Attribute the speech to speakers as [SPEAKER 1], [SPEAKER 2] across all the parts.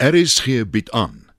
[SPEAKER 1] RSG bied aan.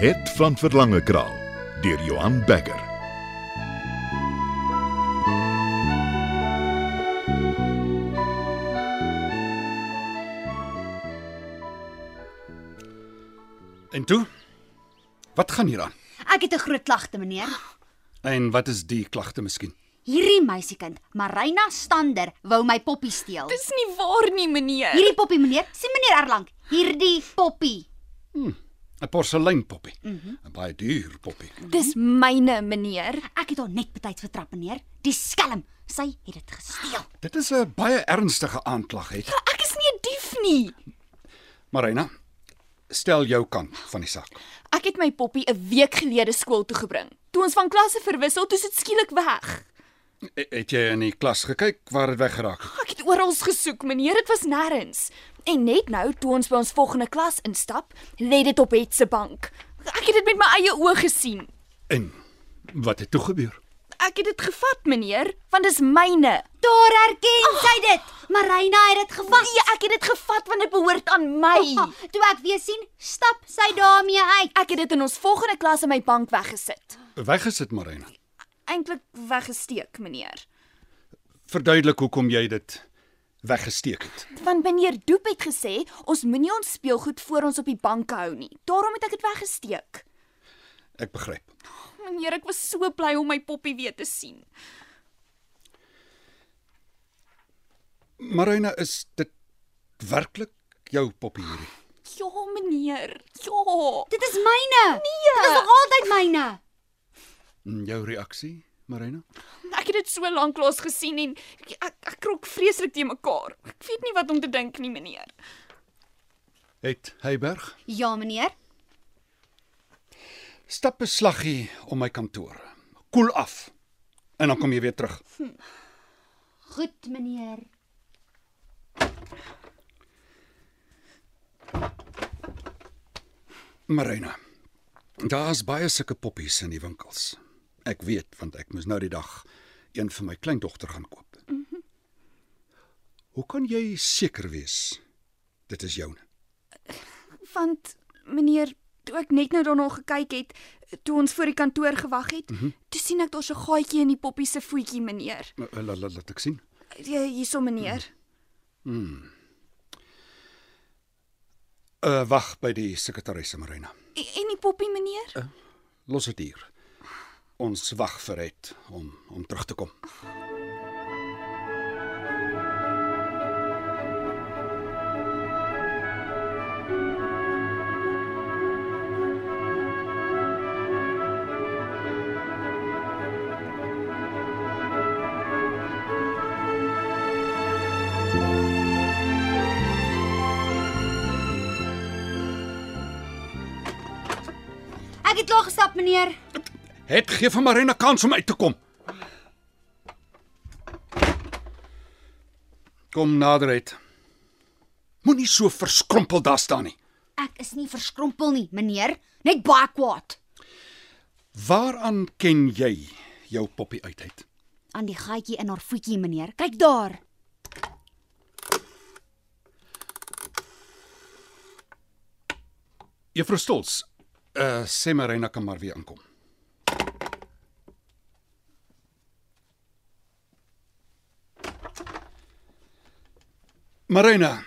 [SPEAKER 1] Het van Verlange Kraal deur Johan Becker.
[SPEAKER 2] En toe? Wat gaan hier aan?
[SPEAKER 3] Ek het 'n groot klagte, meneer.
[SPEAKER 2] En wat is die klagte miskien?
[SPEAKER 3] Hierdie meisiekind, Marina Stander, wou my poppie steel.
[SPEAKER 4] Dis nie waar nie, meneer.
[SPEAKER 3] Hierdie poppie, meneer, sien meneer Erlang, hierdie poppie.
[SPEAKER 2] 'n Porseleinpoppie. 'n Baie duur poppie.
[SPEAKER 4] Dis myne, meneer.
[SPEAKER 3] Ek het haar net betyds vertrap, meneer. Die skelm, sy het dit gesteel.
[SPEAKER 2] Dit is 'n baie ernstige aanklag, het.
[SPEAKER 4] Ek is nie 'n dief nie.
[SPEAKER 2] Marina, stel jou kant van die saak.
[SPEAKER 4] Ek het my poppie 'n week gelede skool toe gebring. Toe ons van klasse verwissel, toe is dit skielik weg.
[SPEAKER 2] E- Het jy in die klas gekyk waar dit weggeraak het?
[SPEAKER 4] Ek het oral gesoek, meneer, dit was nêrens. En net nou, toe ons by ons volgende klas instap, lê dit op het se bank. Ek het dit met my eie oë gesien.
[SPEAKER 2] En wat het toe gebeur?
[SPEAKER 4] Ek het dit gevat, meneer, want dis myne.
[SPEAKER 3] Daar herken sy dit. Marina het dit gevat.
[SPEAKER 4] Nee, ek het dit gevat want dit behoort aan my.
[SPEAKER 3] Ah, Toe ek weer sien, stap sy daarmee uit.
[SPEAKER 4] Ek het dit in ons volgende klas in my bank weggesit.
[SPEAKER 2] Weggesit, Marina.
[SPEAKER 4] Eintlik weggesteek, meneer.
[SPEAKER 2] Verduidelik hoekom jy dit weggesteek het.
[SPEAKER 4] Want meneer Doep het gesê ons moenie ons speelgoed voor ons op die banke hou nie. Daarom het ek dit weggesteek.
[SPEAKER 2] Ek begryp.
[SPEAKER 4] Meneer, ek was so bly om my poppie weer te sien.
[SPEAKER 2] Marina, is dit werklik jou poppie hierdie?
[SPEAKER 4] Ja, meneer. Ja.
[SPEAKER 3] Dit is myne. Nee. Dit is nog altyd myne.
[SPEAKER 2] En Hm, jou reaksie, Marina?
[SPEAKER 4] Ek het dit so lank lank gesien en ek ek krok vreeslik te mekaar. Ek weet nie wat om te dink nie, meneer.
[SPEAKER 2] Het Heyberg
[SPEAKER 3] Ja, meneer.
[SPEAKER 2] Stap 'n slaggie om my kantoor. Koel af. En dan kom jy weer terug.
[SPEAKER 3] Goed, meneer.
[SPEAKER 2] Marina. Daar's baie sulke poppies in die winkels. Ek weet want ek moes nou die dag een vir my kleindogter gaan koop. Mm -hmm. Hoe kan jy seker wees dit is joune?
[SPEAKER 4] Want meneer, toe ek net nou daarna gekyk het, toe ons voor die kantoor gewag het, mm -hmm. toe sien ek daar's 'n gaatjie in die poppie se voetjie, meneer.
[SPEAKER 2] La- la- la- Eh, Laat ek sien.
[SPEAKER 4] Hierso, meneer.
[SPEAKER 2] Uh wag by die sekretaresse Marina.
[SPEAKER 4] En en die poppie, meneer?
[SPEAKER 2] Los dit hier. Ons wag vir het om om terug te kom.
[SPEAKER 3] Ek het klaar gestap, meneer.
[SPEAKER 2] Het gee vir Marina kans om uit te kom. Kom naderheid. Moenie so verskrompel daar staan nie.
[SPEAKER 3] Ek is nie verskrompel nie, meneer. Net baie kwaad
[SPEAKER 2] Waaraan ken jy jou poppie uit het?
[SPEAKER 3] aan die gaatjie in haar voetjie, meneer. Kyk daar.
[SPEAKER 2] Juffrou Stols, uh sê Marina kan maar weer inkom. Marina,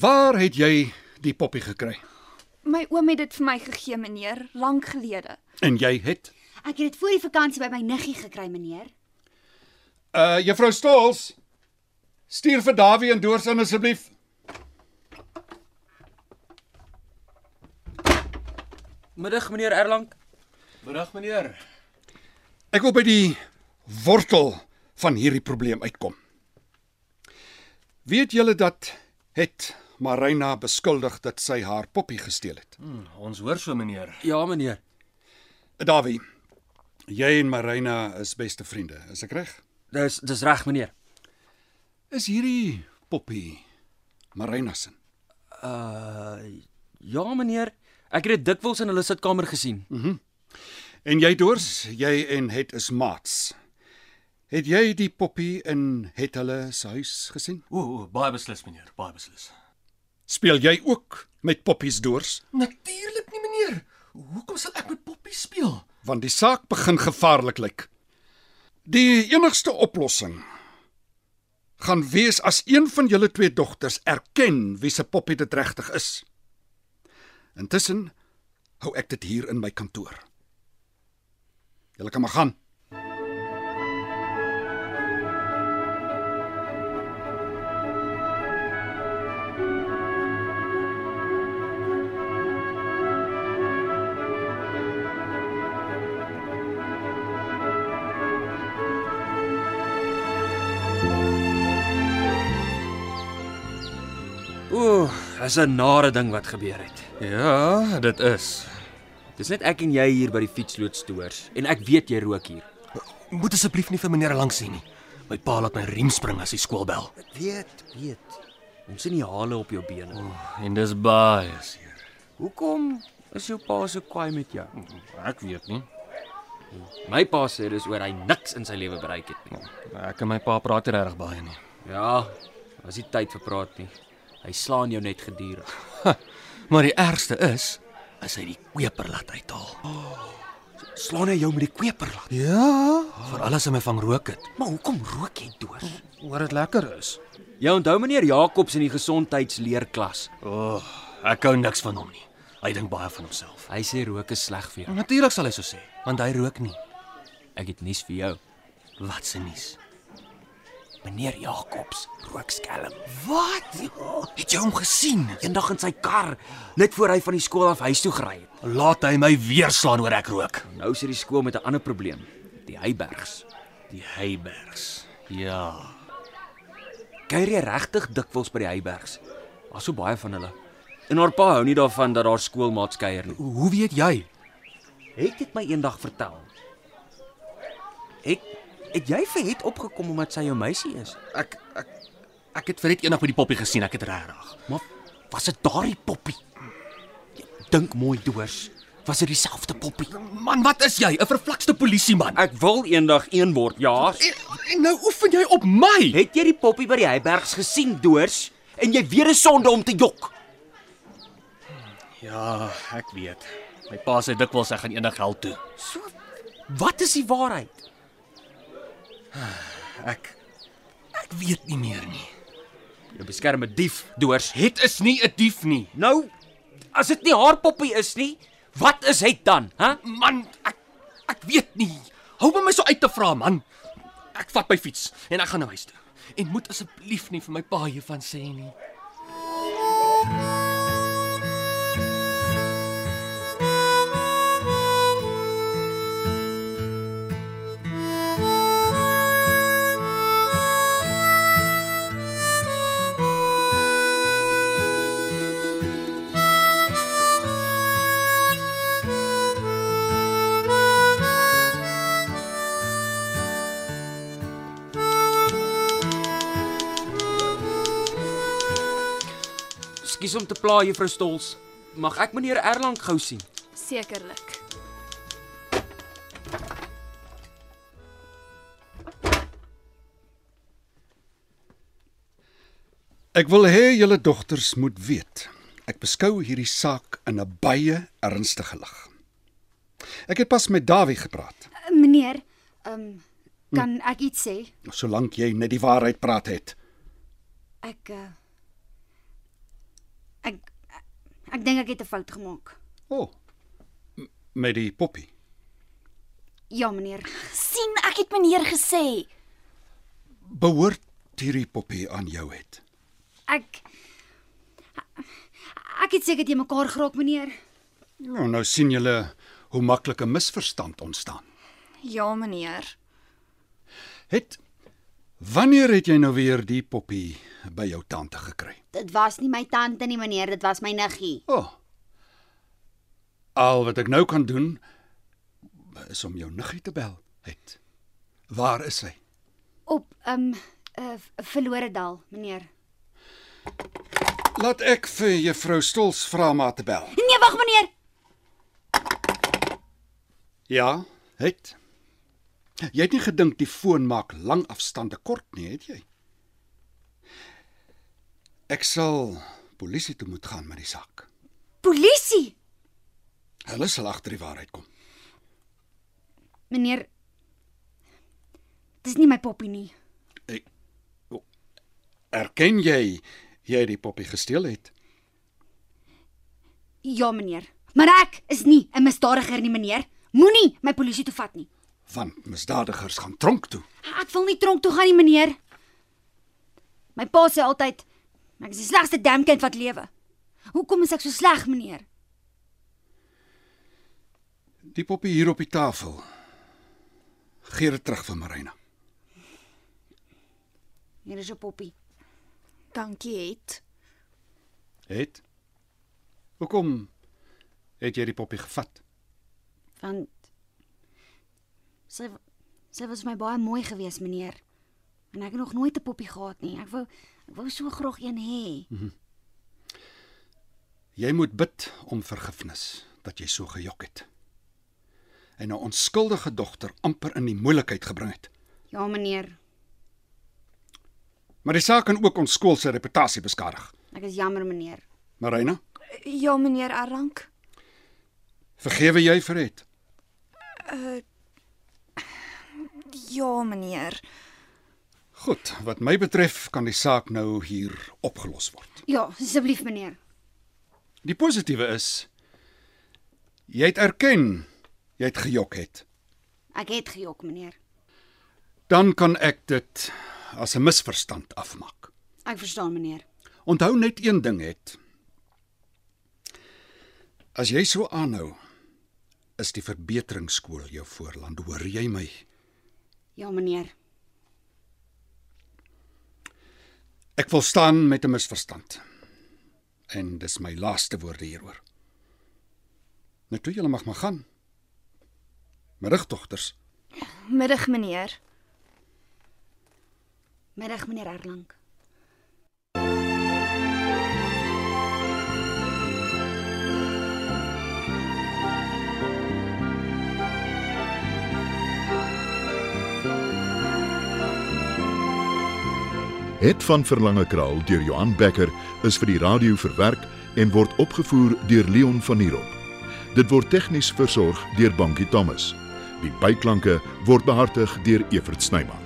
[SPEAKER 2] waar het jy die poppie gekry?
[SPEAKER 4] My oom het dit vir my gegee, meneer, lank gelede.
[SPEAKER 2] En jy het
[SPEAKER 3] Ek het dit voor die vakansie by my niggie gekry, meneer.
[SPEAKER 2] Uh juffrou Stols, stuur vir Dawie en Doors in asseblief.
[SPEAKER 5] Middag meneer Erlang.
[SPEAKER 6] Middag meneer.
[SPEAKER 2] Ek wil by die wortel van hierdie probleem uitkom. Weet julle dat het Marina beskuldig dat sy haar poppie gesteel het?
[SPEAKER 6] Ons hoor so meneer.
[SPEAKER 5] Ja meneer.
[SPEAKER 2] Eh, Dawie, jy en Marina is beste vriende, is ek reg?
[SPEAKER 5] Dis dis reg meneer.
[SPEAKER 2] Is hierdie poppie Marina se?
[SPEAKER 5] Uh ja meneer. Ek het dit dikwels in hulle sitkamer gesien.
[SPEAKER 2] En jy dors, jy en het is maats. Het jy die poppie in het hulle se huis gesien?
[SPEAKER 6] O, o, baie beslis meneer, baie beslis.
[SPEAKER 2] Speel jy ook met poppies dors?
[SPEAKER 6] Natuurlik nie meneer. Hoekom sal ek met Poppy speel?
[SPEAKER 2] want die saak begin gevaarlik lyk. Die enigste oplossing gaan wees as een van julle twee dogters erken wie se poppie dit regtig is. Intussen hou ek dit hier in my kantoor. Julle kan maar gaan.
[SPEAKER 5] Ooh, is 'n nare ding wat gebeur het.
[SPEAKER 6] Ja, dit is.
[SPEAKER 5] Dis net ek en jy hier by die fietsloodsstoors en ek weet jy rook hier.
[SPEAKER 6] Moet asseblief nie vir meneer lank sien nie. My pa laat my riem spring as hy skool bel.
[SPEAKER 5] Weet, weet. Ons sien die hale op jou bene.
[SPEAKER 6] En dis baie seer.
[SPEAKER 5] Hoekom is jou pa so kwaai met jou?
[SPEAKER 6] Ek weet nie.
[SPEAKER 5] My pa sê dis oor hy niks in sy lewe bereik het nie.
[SPEAKER 6] Ek en my pa praat nie regtig baie nie.
[SPEAKER 5] Ja, was nie tyd vir praat nie. Hy slaan jou net gedurig.
[SPEAKER 6] Maar die ergste is as hy die koper laat uithaal.
[SPEAKER 5] Slaan hy jou met die kweper laat.
[SPEAKER 6] Ja, vir alles in my vang rook dit.
[SPEAKER 5] Maar hoekom rook jy dors?
[SPEAKER 6] Hoor dit lekker is.
[SPEAKER 5] Jy onthou meneer Jacobs in die gesondheidsleerklas.
[SPEAKER 6] O, oh, ek hou niks van hom nie. Hy dink baie van homself.
[SPEAKER 5] Hy sê rook is sleg vir jou.
[SPEAKER 6] Natuurlik sal hy so sê, want hy rook nie.
[SPEAKER 5] Ek het nuus vir jou.
[SPEAKER 6] Wat se nuus?
[SPEAKER 5] Meneer Jacobs rook skelm.
[SPEAKER 6] Wat? Het jy hom gesien?
[SPEAKER 5] Eendag in sy kar, net voor hy van die skool af huis toe gery het.
[SPEAKER 6] Laat hy my weer slaan oor ek rook.
[SPEAKER 5] Nou sit die skool met 'n ander probleem, die Heybergs.
[SPEAKER 6] Die Heybergs. Ja.
[SPEAKER 5] Kuier jy regtig dikwels by die Heybergs? Daar's so baie van hulle. En haar pa hou nie daarvan dat haar skoolmaats kuier nie.
[SPEAKER 6] Hoe weet jy?
[SPEAKER 5] Het dit my eendag vertel. Ek het jy vir het opgekom omdat sy jou meisie is.
[SPEAKER 6] Ek ek ek het vir net eendag by die poppie gesien, ek het regtig.
[SPEAKER 5] Maar was dit daardie poppie? Dink mooi deurs. Was dit dieselfde poppie?
[SPEAKER 6] Man, wat is jy? 'n Vervlakste polisieman.
[SPEAKER 5] Ek wil eendag een word, ja.
[SPEAKER 6] En, en nou oefen jy op my.
[SPEAKER 5] Het jy die poppie by die Heybergs gesien, deurs? En jy weer 'n sonde om te jok.
[SPEAKER 6] Ja, ek weet. My pa sê dikwels ek gaan eendag hel toe.
[SPEAKER 5] So wat is die waarheid?
[SPEAKER 6] Ek ek weet nie meer nie.
[SPEAKER 5] Jy beskerm 'n dief, deurs.
[SPEAKER 6] Het is nie 'n dief nie.
[SPEAKER 5] Nou, as dit nie haar poppie is nie, wat is dit dan, hè?
[SPEAKER 6] Man, ek ek weet nie. Hou my my so uit te vra, man. Ek vat my fiets en ek gaan nou huis toe. En moet asseblief nie vir my pa hiervan sê nie.
[SPEAKER 5] Ekskuus om te pla, Juffrou Stols. Mag ek meneer Erlang gou sien?
[SPEAKER 4] Sekerlik.
[SPEAKER 2] Ek wil hê julle dogters moet weet. Ek beskou hierdie saak in 'n baie ernstige lig. Ek het pas met Dawie gepraat,
[SPEAKER 3] Eh, Meneer, ehm um, kan ek iets sê?
[SPEAKER 2] solank jy net die waarheid praat het.
[SPEAKER 3] Ek eh, ek ek dink ek het 'n fout gemaak.
[SPEAKER 2] O. Oh, m- met die poppie.
[SPEAKER 3] Ja, meneer.
[SPEAKER 4] sien ek het meneer gesê.
[SPEAKER 2] Behoort hierdie poppie aan jou het?
[SPEAKER 3] Ek ek het seker te mekaar geraak, meneer.
[SPEAKER 2] Nou nou sien julle hoe maklik 'n misverstand ontstaan.
[SPEAKER 4] Ja, meneer.
[SPEAKER 2] Het wanneer het jy nou weer die poppie by jou tante gekry?
[SPEAKER 3] Dit was nie my tante nie, meneer, dit was my niggie.
[SPEAKER 2] O. Oh. Al wat ek nou kan doen is om jou niggie te bel. Het. Waar is sy?
[SPEAKER 3] Op ehm um, 'n uh, verlore dal, meneer.
[SPEAKER 2] Laat ek vir juffrou Stols vra maar te bel.
[SPEAKER 3] Nee, wag meneer.
[SPEAKER 2] Ja, het. Jy het nie gedink die foon maak langafstande kort nie, het jy? Ek sal polisie toe moet gaan met die saak.
[SPEAKER 4] Polisie.
[SPEAKER 2] Hulle sal agter die waarheid kom.
[SPEAKER 3] Meneer Dis nie my poppie nie.
[SPEAKER 2] Erken jy jy het die poppie gesteel het?
[SPEAKER 3] Ja, meneer. Maar ek is nie 'n misdadiger nie, meneer. Moenie my polisie toe vat nie.
[SPEAKER 2] Want misdadigers gaan tronk toe.
[SPEAKER 3] Ek wil nie tronk toe gaan nie, meneer. My pa sê altyd ek is die slegste damn kind wat lewe. Hoekom is ek so sleg, meneer?
[SPEAKER 2] Die poppie hier op die tafel. Gee dit terug vir Marina.
[SPEAKER 3] Hier is 'n poppie.
[SPEAKER 4] Dankie, Het.
[SPEAKER 2] Het? Hoekom het jy die poppie gevat?
[SPEAKER 3] Want sy sy was vir my baie mooi geweest, meneer. En ek het nog nooit 'n poppie gehad nie. Ek wou ek wou so graag een hê.
[SPEAKER 2] Jy moet bid om vergifnis dat jy so gejok het. En 'n onskuldige dogter amper in die moeilikheid gebring het.
[SPEAKER 3] Ja, meneer.
[SPEAKER 2] Maar die saak kan ook ons skool se reputasie beskadig.
[SPEAKER 3] Ek is jammer, meneer.
[SPEAKER 2] Marina,
[SPEAKER 4] Ja, meneer Arank.
[SPEAKER 2] vergewe jy vir het?
[SPEAKER 4] Ja, meneer.
[SPEAKER 2] Goed, wat my betref kan die saak nou hier opgelos word.
[SPEAKER 3] Ja, asseblief, meneer.
[SPEAKER 2] Die positiewe is jy het erken jy het gejok het.
[SPEAKER 3] Ek het gejok, meneer.
[SPEAKER 2] Dan kan ek dit as 'n misverstand afmaak.
[SPEAKER 3] Ek verstaan, meneer.
[SPEAKER 2] Onthou net een ding het. As jy so aanhou, is die verbeteringsskool jou voorland, hoor jy my?
[SPEAKER 3] Ja, meneer.
[SPEAKER 2] Ek wil staan met 'n misverstand. En dis my laaste woorde hieroor. Nou toe julle mag maar gaan. Middagdogters,
[SPEAKER 4] Middag, meneer.
[SPEAKER 3] Middag, meneer Erlang.
[SPEAKER 1] Het van Verlange Kraal deur Johan Becker is vir die radio verwerk en word opgevoer deur Leon Van Heerop. Dit word tegnies versorg deur Bankie Thomas. Die byklanke word behartig deur Evert Snyman.